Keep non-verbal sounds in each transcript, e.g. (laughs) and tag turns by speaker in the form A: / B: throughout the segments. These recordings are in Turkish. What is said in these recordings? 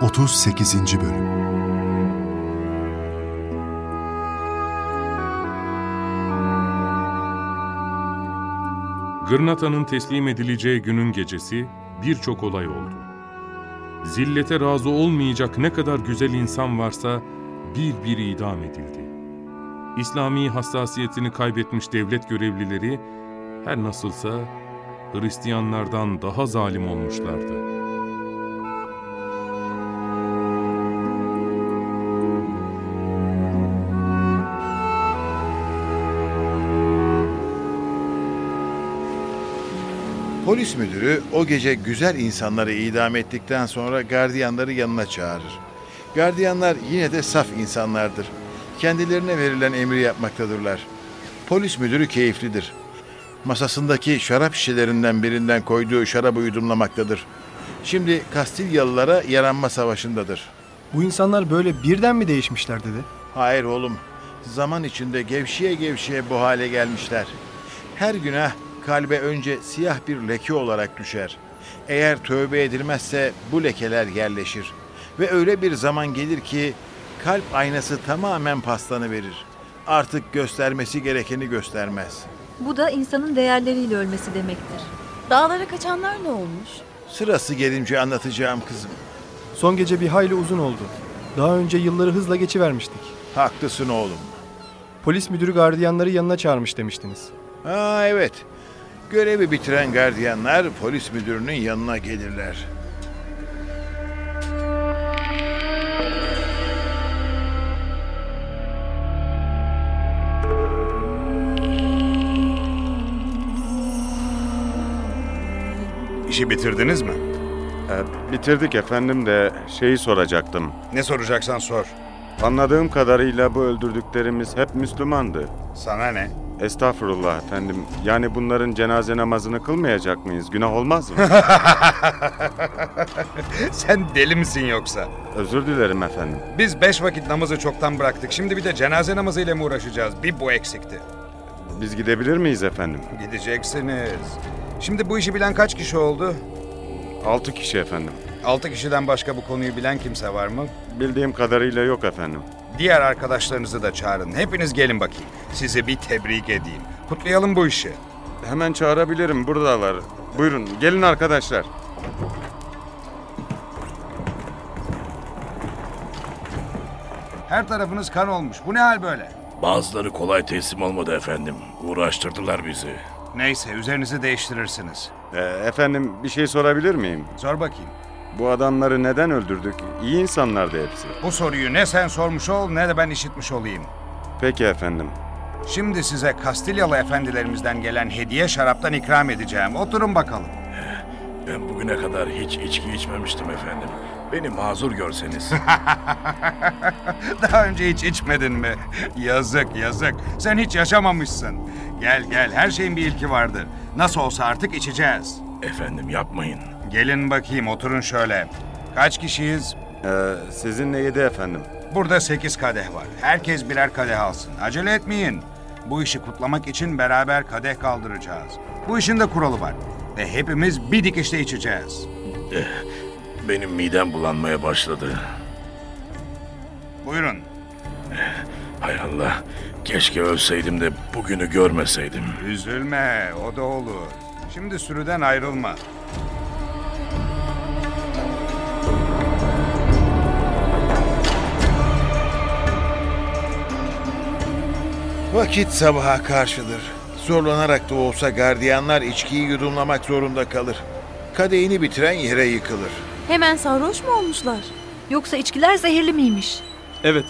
A: 38. Bölüm
B: Gırnata'nın teslim edileceği günün gecesi birçok olay oldu. Zillete razı olmayacak ne kadar güzel insan varsa bir bir idam edildi. İslami hassasiyetini kaybetmiş devlet görevlileri her nasılsa Hristiyanlardan daha zalim olmuşlardı.
C: Polis müdürü o gece güzel insanları idam ettikten sonra gardiyanları yanına çağırır. Gardiyanlar yine de saf insanlardır. Kendilerine verilen emri yapmaktadırlar. Polis müdürü keyiflidir. Masasındaki şarap şişelerinden birinden koyduğu şarabı yudumlamaktadır. Şimdi Kastilyalılara yaranma savaşındadır.
D: Bu insanlar böyle birden mi değişmişler dedi.
C: Hayır oğlum. Zaman içinde gevşeye gevşeye bu hale gelmişler. Her günah kalbe önce siyah bir leke olarak düşer. Eğer tövbe edilmezse bu lekeler yerleşir. Ve öyle bir zaman gelir ki kalp aynası tamamen paslanı verir. Artık göstermesi gerekeni göstermez.
E: Bu da insanın değerleriyle ölmesi demektir.
F: Dağlara kaçanlar ne olmuş?
C: Sırası gelince anlatacağım kızım.
D: Son gece bir hayli uzun oldu. Daha önce yılları hızla geçivermiştik.
C: Haklısın oğlum.
D: Polis müdürü gardiyanları yanına çağırmış demiştiniz.
C: Ha evet. Görevi bitiren gardiyanlar polis müdürünün yanına gelirler.
G: İşi bitirdiniz mi?
H: Ee, bitirdik efendim de şeyi soracaktım.
G: Ne soracaksan sor.
H: Anladığım kadarıyla bu öldürdüklerimiz hep Müslümandı.
G: Sana ne?
H: Estağfurullah efendim. Yani bunların cenaze namazını kılmayacak mıyız? Günah olmaz mı?
G: (laughs) Sen deli misin yoksa?
H: Özür dilerim efendim.
G: Biz beş vakit namazı çoktan bıraktık. Şimdi bir de cenaze namazıyla mı uğraşacağız? Bir bu eksikti.
H: Biz gidebilir miyiz efendim?
G: Gideceksiniz. Şimdi bu işi bilen kaç kişi oldu?
H: 6 kişi efendim.
G: Altı kişiden başka bu konuyu bilen kimse var mı?
H: Bildiğim kadarıyla yok efendim.
G: Diğer arkadaşlarınızı da çağırın. Hepiniz gelin bakayım. Size bir tebrik edeyim. Kutlayalım bu işi.
H: Hemen çağırabilirim buradalar. Buyurun gelin arkadaşlar.
G: Her tarafınız kan olmuş. Bu ne hal böyle?
I: Bazıları kolay teslim olmadı efendim. Uğraştırdılar bizi.
G: Neyse üzerinizi değiştirirsiniz.
H: Ee, efendim bir şey sorabilir miyim?
G: Sor bakayım.
H: Bu adamları neden öldürdük? İyi insanlardı hepsi.
G: Bu soruyu ne sen sormuş ol ne de ben işitmiş olayım.
H: Peki efendim.
G: Şimdi size Kastilyalı efendilerimizden gelen hediye şaraptan ikram edeceğim. Oturun bakalım. (laughs)
I: Ben bugüne kadar hiç içki içmemiştim efendim. Beni mazur görseniz.
H: (laughs)
G: Daha önce hiç içmedin mi? Yazık yazık. Sen hiç yaşamamışsın. Gel gel her şeyin bir ilki vardır. Nasıl olsa artık içeceğiz.
I: efendim yapmayın.
G: Gelin bakayım oturun şöyle. Kaç kişiyiz?
H: Ee, sizinle yedi efendim.
G: Burada sekiz kadeh var. Herkes birer kadeh alsın. Acele etmeyin. Bu işi kutlamak için beraber kadeh kaldıracağız. Bu işin de kuralı var. Ve hepimiz bir dikişte içeceğiz.
I: Benim midem bulanmaya başladı.
G: Buyurun.
I: Hay Allah. Keşke ölseydim de bugünü görmeseydim.
G: Üzülme, o da olur. Şimdi sürüden ayrılma.
C: Vakit sabaha karşıdır. Zorlanarak da olsa gardiyanlar içkiyi yudumlamak zorunda kalır. Kadehini bitiren yere yıkılır.
F: Hemen sarhoş mu olmuşlar?
E: Yoksa içkiler zehirli miymiş?
D: Evet,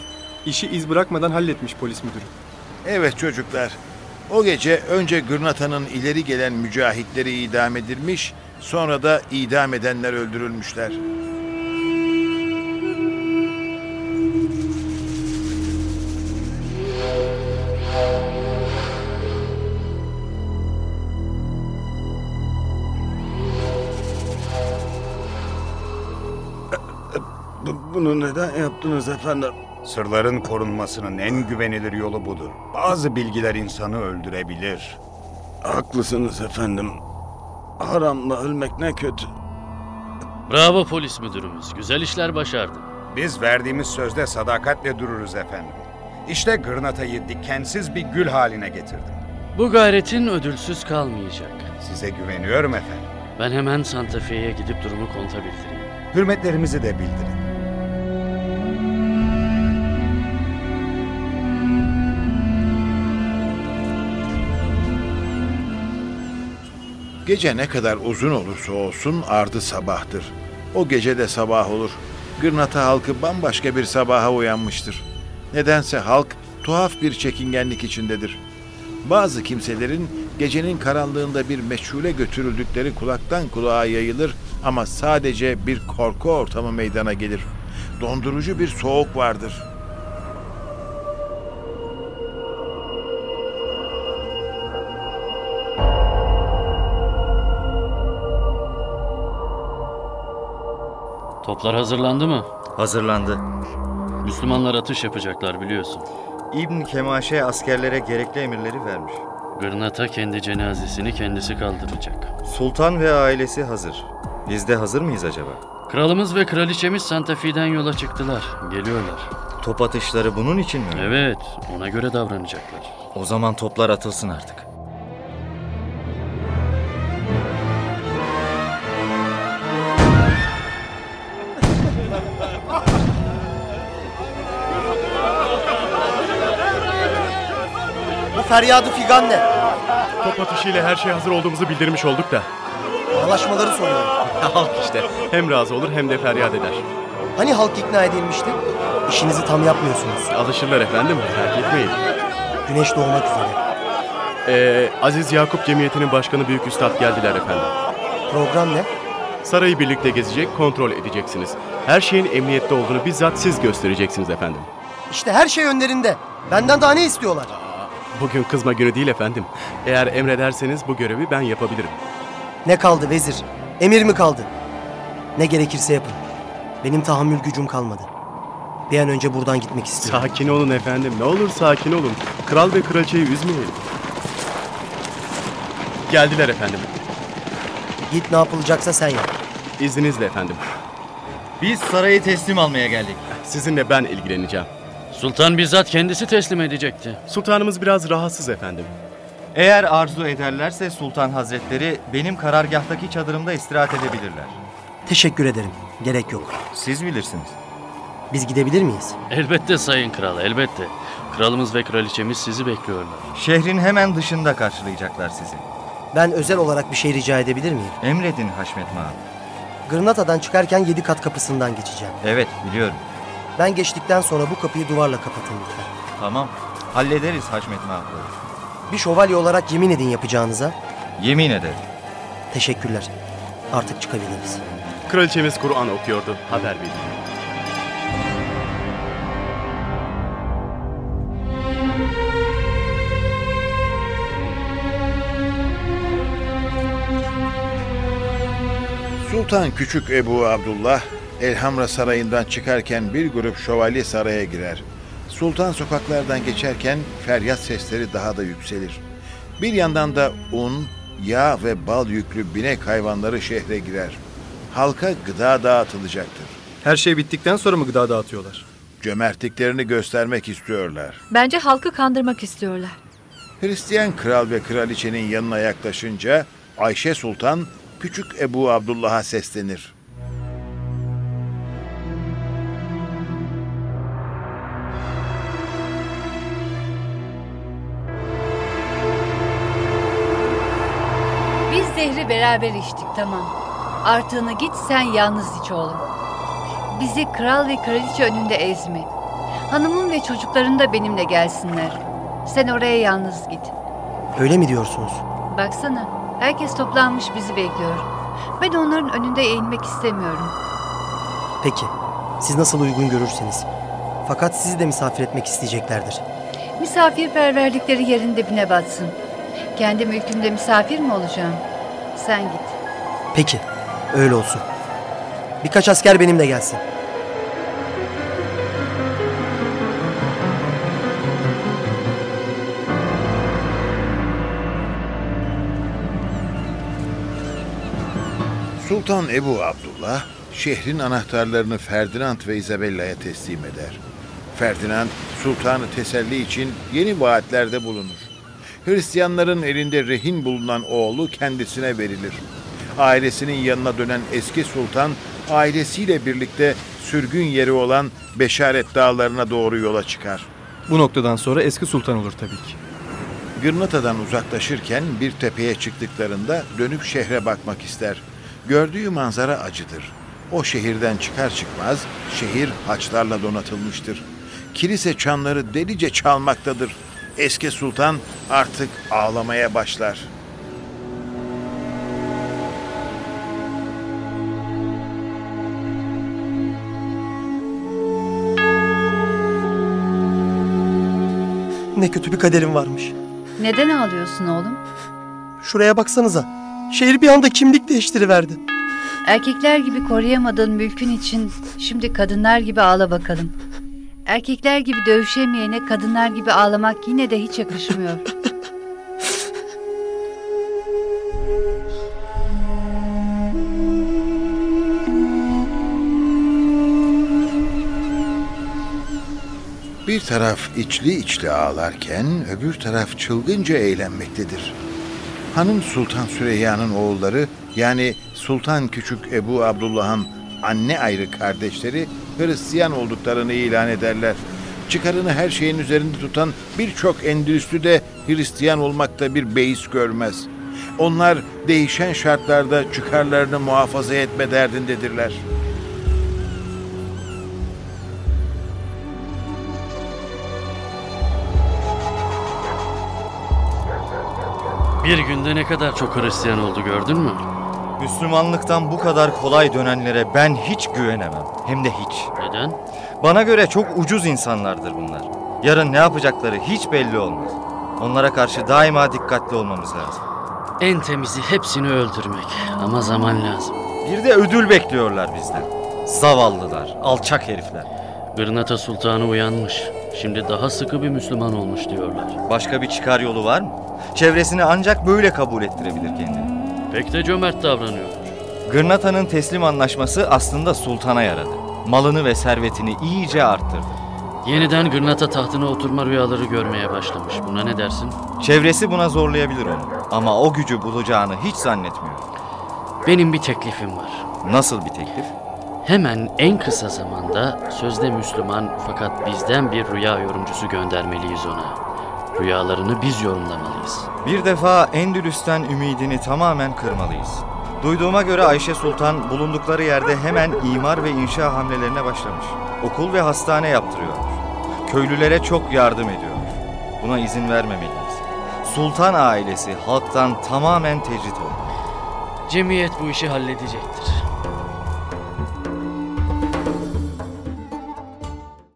D: işi iz bırakmadan halletmiş polis müdürü.
C: Evet çocuklar. O gece önce Gırnata'nın ileri gelen mücahitleri idam edilmiş, sonra da idam edenler öldürülmüşler.
H: Bu- bunu neden yaptınız efendim?
G: Sırların korunmasının en güvenilir yolu budur. Bazı bilgiler insanı öldürebilir.
H: Haklısınız efendim. Haramla ölmek ne kötü.
I: Bravo polis müdürümüz. Güzel işler başardı.
G: Biz verdiğimiz sözde sadakatle dururuz efendim. İşte gırnatayı dikensiz bir gül haline getirdim.
I: Bu gayretin ödülsüz kalmayacak.
G: Size güveniyorum efendim.
I: Ben hemen Santa Fe'ye gidip durumu konta bildireyim.
G: Hürmetlerimizi de bildirin.
C: Gece ne kadar uzun olursa olsun ardı sabahtır. O gece de sabah olur. Gırnata halkı bambaşka bir sabaha uyanmıştır. Nedense halk tuhaf bir çekingenlik içindedir. Bazı kimselerin gecenin karanlığında bir meçhule götürüldükleri kulaktan kulağa yayılır ama sadece bir korku ortamı meydana gelir. Dondurucu bir soğuk vardır.''
I: Toplar hazırlandı mı?
J: Hazırlandı.
I: Müslümanlar atış yapacaklar biliyorsun.
J: İbn Kemaşe askerlere gerekli emirleri vermiş.
I: Gırnata kendi cenazesini kendisi kaldıracak.
J: Sultan ve ailesi hazır. Biz de hazır mıyız acaba?
I: Kralımız ve kraliçemiz Santa Fe'den yola çıktılar. Geliyorlar.
J: Top atışları bunun için mi?
I: Evet, ona göre davranacaklar.
J: O zaman toplar atılsın artık.
K: Bu feryadı figan ne?
H: Top atışıyla her şey hazır olduğumuzu bildirmiş olduk da.
K: Ağlaşmaları soruyorum.
H: (laughs) Halk işte. Hem razı olur hem de feryat eder.
K: Hani halk ikna edilmişti? İşinizi tam yapmıyorsunuz.
H: Alışırlar efendim. Merak etmeyin.
K: Güneş doğmak üzere.
H: Ee, Aziz Yakup Cemiyeti'nin başkanı Büyük Üstad geldiler efendim.
K: Program ne?
H: Sarayı birlikte gezecek, kontrol edeceksiniz. Her şeyin emniyette olduğunu bizzat siz göstereceksiniz efendim.
K: İşte her şey önlerinde. Benden daha ne istiyorlar?
H: Bugün kızma günü değil efendim. Eğer emrederseniz bu görevi ben yapabilirim.
K: Ne kaldı vezir? Emir mi kaldı? Ne gerekirse yapın. Benim tahammül gücüm kalmadı. Bir an önce buradan gitmek istiyorum.
H: Sakin olun efendim. Ne olur sakin olun. Kral ve kraliçeyi üzmeyin. Geldiler efendim.
K: Git ne yapılacaksa sen yap.
H: İzninizle efendim.
J: Biz sarayı teslim almaya geldik.
H: Sizinle ben ilgileneceğim.
I: Sultan bizzat kendisi teslim edecekti.
H: Sultanımız biraz rahatsız efendim.
J: Eğer arzu ederlerse Sultan Hazretleri benim karargahtaki çadırımda istirahat edebilirler.
K: Teşekkür ederim. Gerek yok.
J: Siz bilirsiniz.
K: Biz gidebilir miyiz?
I: Elbette sayın kral, elbette. Kralımız ve kraliçemiz sizi bekliyorlar.
J: Şehrin hemen dışında karşılayacaklar sizi.
K: Ben özel olarak bir şey rica edebilir miyim?
J: Emredin Haşmet Mağa.
K: Gırnata'dan çıkarken yedi kat kapısından geçeceğim.
J: Evet biliyorum.
K: Ben geçtikten sonra bu kapıyı duvarla kapatın lütfen.
J: Tamam. Hallederiz Haşmet Mağa.
K: Bir şövalye olarak yemin edin yapacağınıza.
J: Yemin ederim.
K: Teşekkürler. Artık çıkabiliriz.
H: Kraliçemiz Kur'an okuyordu. Haber verin.
C: Sultan Küçük Ebu Abdullah Elhamra Sarayı'ndan çıkarken bir grup şövalye saraya girer. Sultan sokaklardan geçerken feryat sesleri daha da yükselir. Bir yandan da un, yağ ve bal yüklü binek hayvanları şehre girer. Halka gıda dağıtılacaktır.
H: Her şey bittikten sonra mı gıda dağıtıyorlar?
C: Cömertliklerini göstermek istiyorlar.
E: Bence halkı kandırmak istiyorlar.
C: Hristiyan kral ve kraliçenin yanına yaklaşınca Ayşe Sultan Küçük Ebu Abdullah'a seslenir.
E: Biz zehri beraber içtik tamam. Artığını git sen yalnız iç oğlum. Bizi kral ve kraliçe önünde ezme. Hanımım ve çocukların da benimle gelsinler. Sen oraya yalnız git.
K: Öyle mi diyorsunuz?
E: Baksana herkes toplanmış bizi bekliyor. Ben onların önünde eğilmek istemiyorum.
K: Peki. Siz nasıl uygun görürseniz. Fakat sizi de misafir etmek isteyeceklerdir.
E: Misafirperverlikleri yerin dibine batsın. Kendi mülkümde misafir mi olacağım? Sen git.
K: Peki. Öyle olsun. Birkaç asker benimle gelsin.
C: Sultan Ebu Abdullah şehrin anahtarlarını Ferdinand ve Isabella'ya teslim eder. Ferdinand sultanı teselli için yeni vaatlerde bulunur. Hristiyanların elinde rehin bulunan oğlu kendisine verilir. Ailesinin yanına dönen eski sultan ailesiyle birlikte sürgün yeri olan Beşaret Dağları'na doğru yola çıkar.
L: Bu noktadan sonra eski sultan olur tabii ki.
C: Gırnata'dan uzaklaşırken bir tepeye çıktıklarında dönüp şehre bakmak ister. Gördüğü manzara acıdır. O şehirden çıkar çıkmaz şehir haçlarla donatılmıştır. Kilise çanları delice çalmaktadır. Eski sultan artık ağlamaya başlar.
M: Ne kötü bir kaderim varmış.
E: Neden ağlıyorsun oğlum?
M: Şuraya baksanıza. Şehir bir anda kimlik değiştiriverdi.
E: Erkekler gibi koruyamadığın mülkün için şimdi kadınlar gibi ağla bakalım. Erkekler gibi dövüşemeyene kadınlar gibi ağlamak yine de hiç yakışmıyor.
C: Bir taraf içli içli ağlarken öbür taraf çılgınca eğlenmektedir. Hanım Sultan Süreyya'nın oğulları yani Sultan Küçük Ebu Abdullah'ın anne ayrı kardeşleri Hristiyan olduklarını ilan ederler. Çıkarını her şeyin üzerinde tutan birçok endüstri de Hristiyan olmakta bir beis görmez. Onlar değişen şartlarda çıkarlarını muhafaza etme derdindedirler.
A: Bir günde ne kadar çok Hristiyan oldu gördün mü?
K: Müslümanlıktan bu kadar kolay dönenlere ben hiç güvenemem. Hem de hiç.
A: Neden?
K: Bana göre çok ucuz insanlardır bunlar. Yarın ne yapacakları hiç belli olmaz. Onlara karşı daima dikkatli olmamız lazım.
A: En temizi hepsini öldürmek. Ama zaman lazım.
K: Bir de ödül bekliyorlar bizden. Zavallılar, alçak herifler.
A: Gırnata Sultanı uyanmış. Şimdi daha sıkı bir Müslüman olmuş diyorlar.
K: Başka bir çıkar yolu var mı? Çevresini ancak böyle kabul ettirebilir kendini.
A: Pek de cömert davranıyor.
K: Gırnata'nın teslim anlaşması aslında sultana yaradı. Malını ve servetini iyice arttırdı.
A: Yeniden Gırnata tahtına oturma rüyaları görmeye başlamış. Buna ne dersin?
K: Çevresi buna zorlayabilir onu. Ama o gücü bulacağını hiç zannetmiyorum.
A: Benim bir teklifim var.
K: Nasıl bir teklif?
A: Hemen en kısa zamanda sözde Müslüman fakat bizden bir rüya yorumcusu göndermeliyiz ona. Rüyalarını biz yorumlamalıyız.
K: Bir defa Endülüs'ten ümidini tamamen kırmalıyız. Duyduğuma göre Ayşe Sultan bulundukları yerde hemen imar ve inşa hamlelerine başlamış. Okul ve hastane yaptırıyor. Köylülere çok yardım ediyor. Buna izin vermemeliyiz. Sultan ailesi halktan tamamen tecrit oldu.
A: Cemiyet bu işi halledecektir.